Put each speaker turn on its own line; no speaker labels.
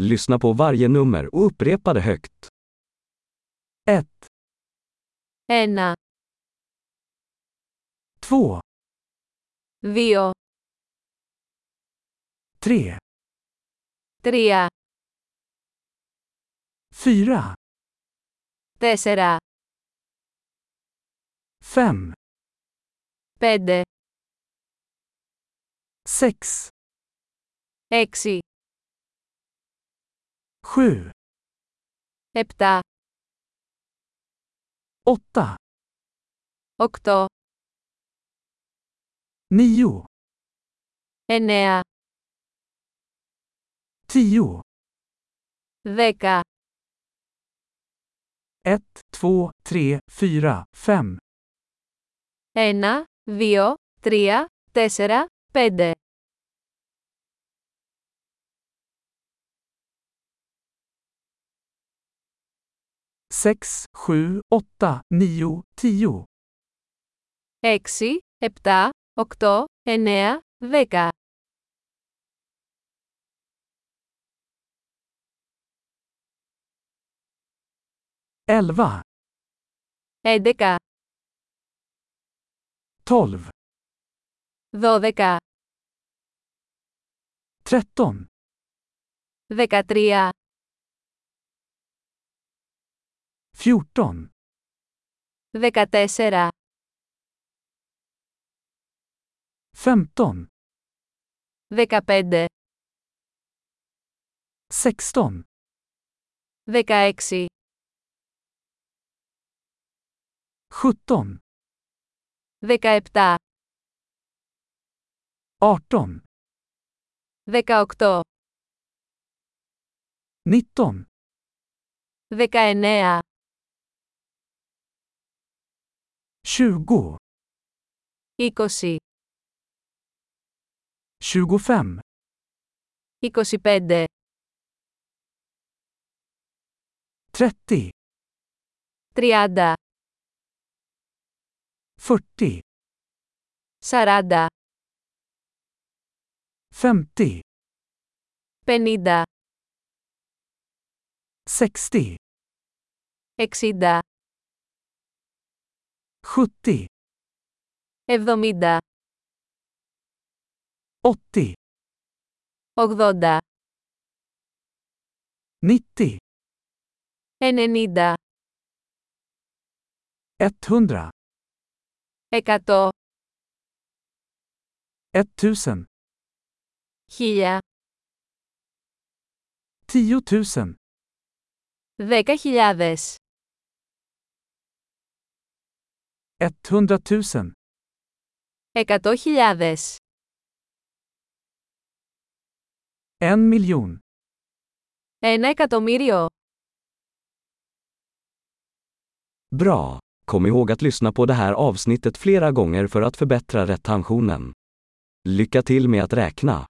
Lyssna på varje nummer och upprepa det högt. 1,
1,
2,
2,
3,
3,
4,
4,
5,
5,
6,
6,
7,
7,
8,
8,
9,
9,
10,
10,
1, 2, 3, 4, 5,
1, 2, 3, 4, 5.
sex, sju, åtta, nio, tio,
6, 7, 8, 9, 10,
elva,
11,
tolv,
12,
tretton,
13,
fjorton,
14,
femton,
15,
sexton,
16,
sjutton,
17,
arton,
18,
nitton,
19,
tjugo,
20,
tjugofem,
25,
trettio,
30,
fyrtio,
40,
femtio,
50,
sextio,
60,
sjuttio,
70,
åttio,
80,
nittio,
90,
etthundra,
100,
etttusen,
1000,
tiotusen,
10.000,
etthundratusen,
100.000,
en miljon,
1 εκατομμύριο.
Bra! Kom ihåg att lyssna på det här avsnittet flera gånger för att förbättra retentionen. Lycka till med att räkna!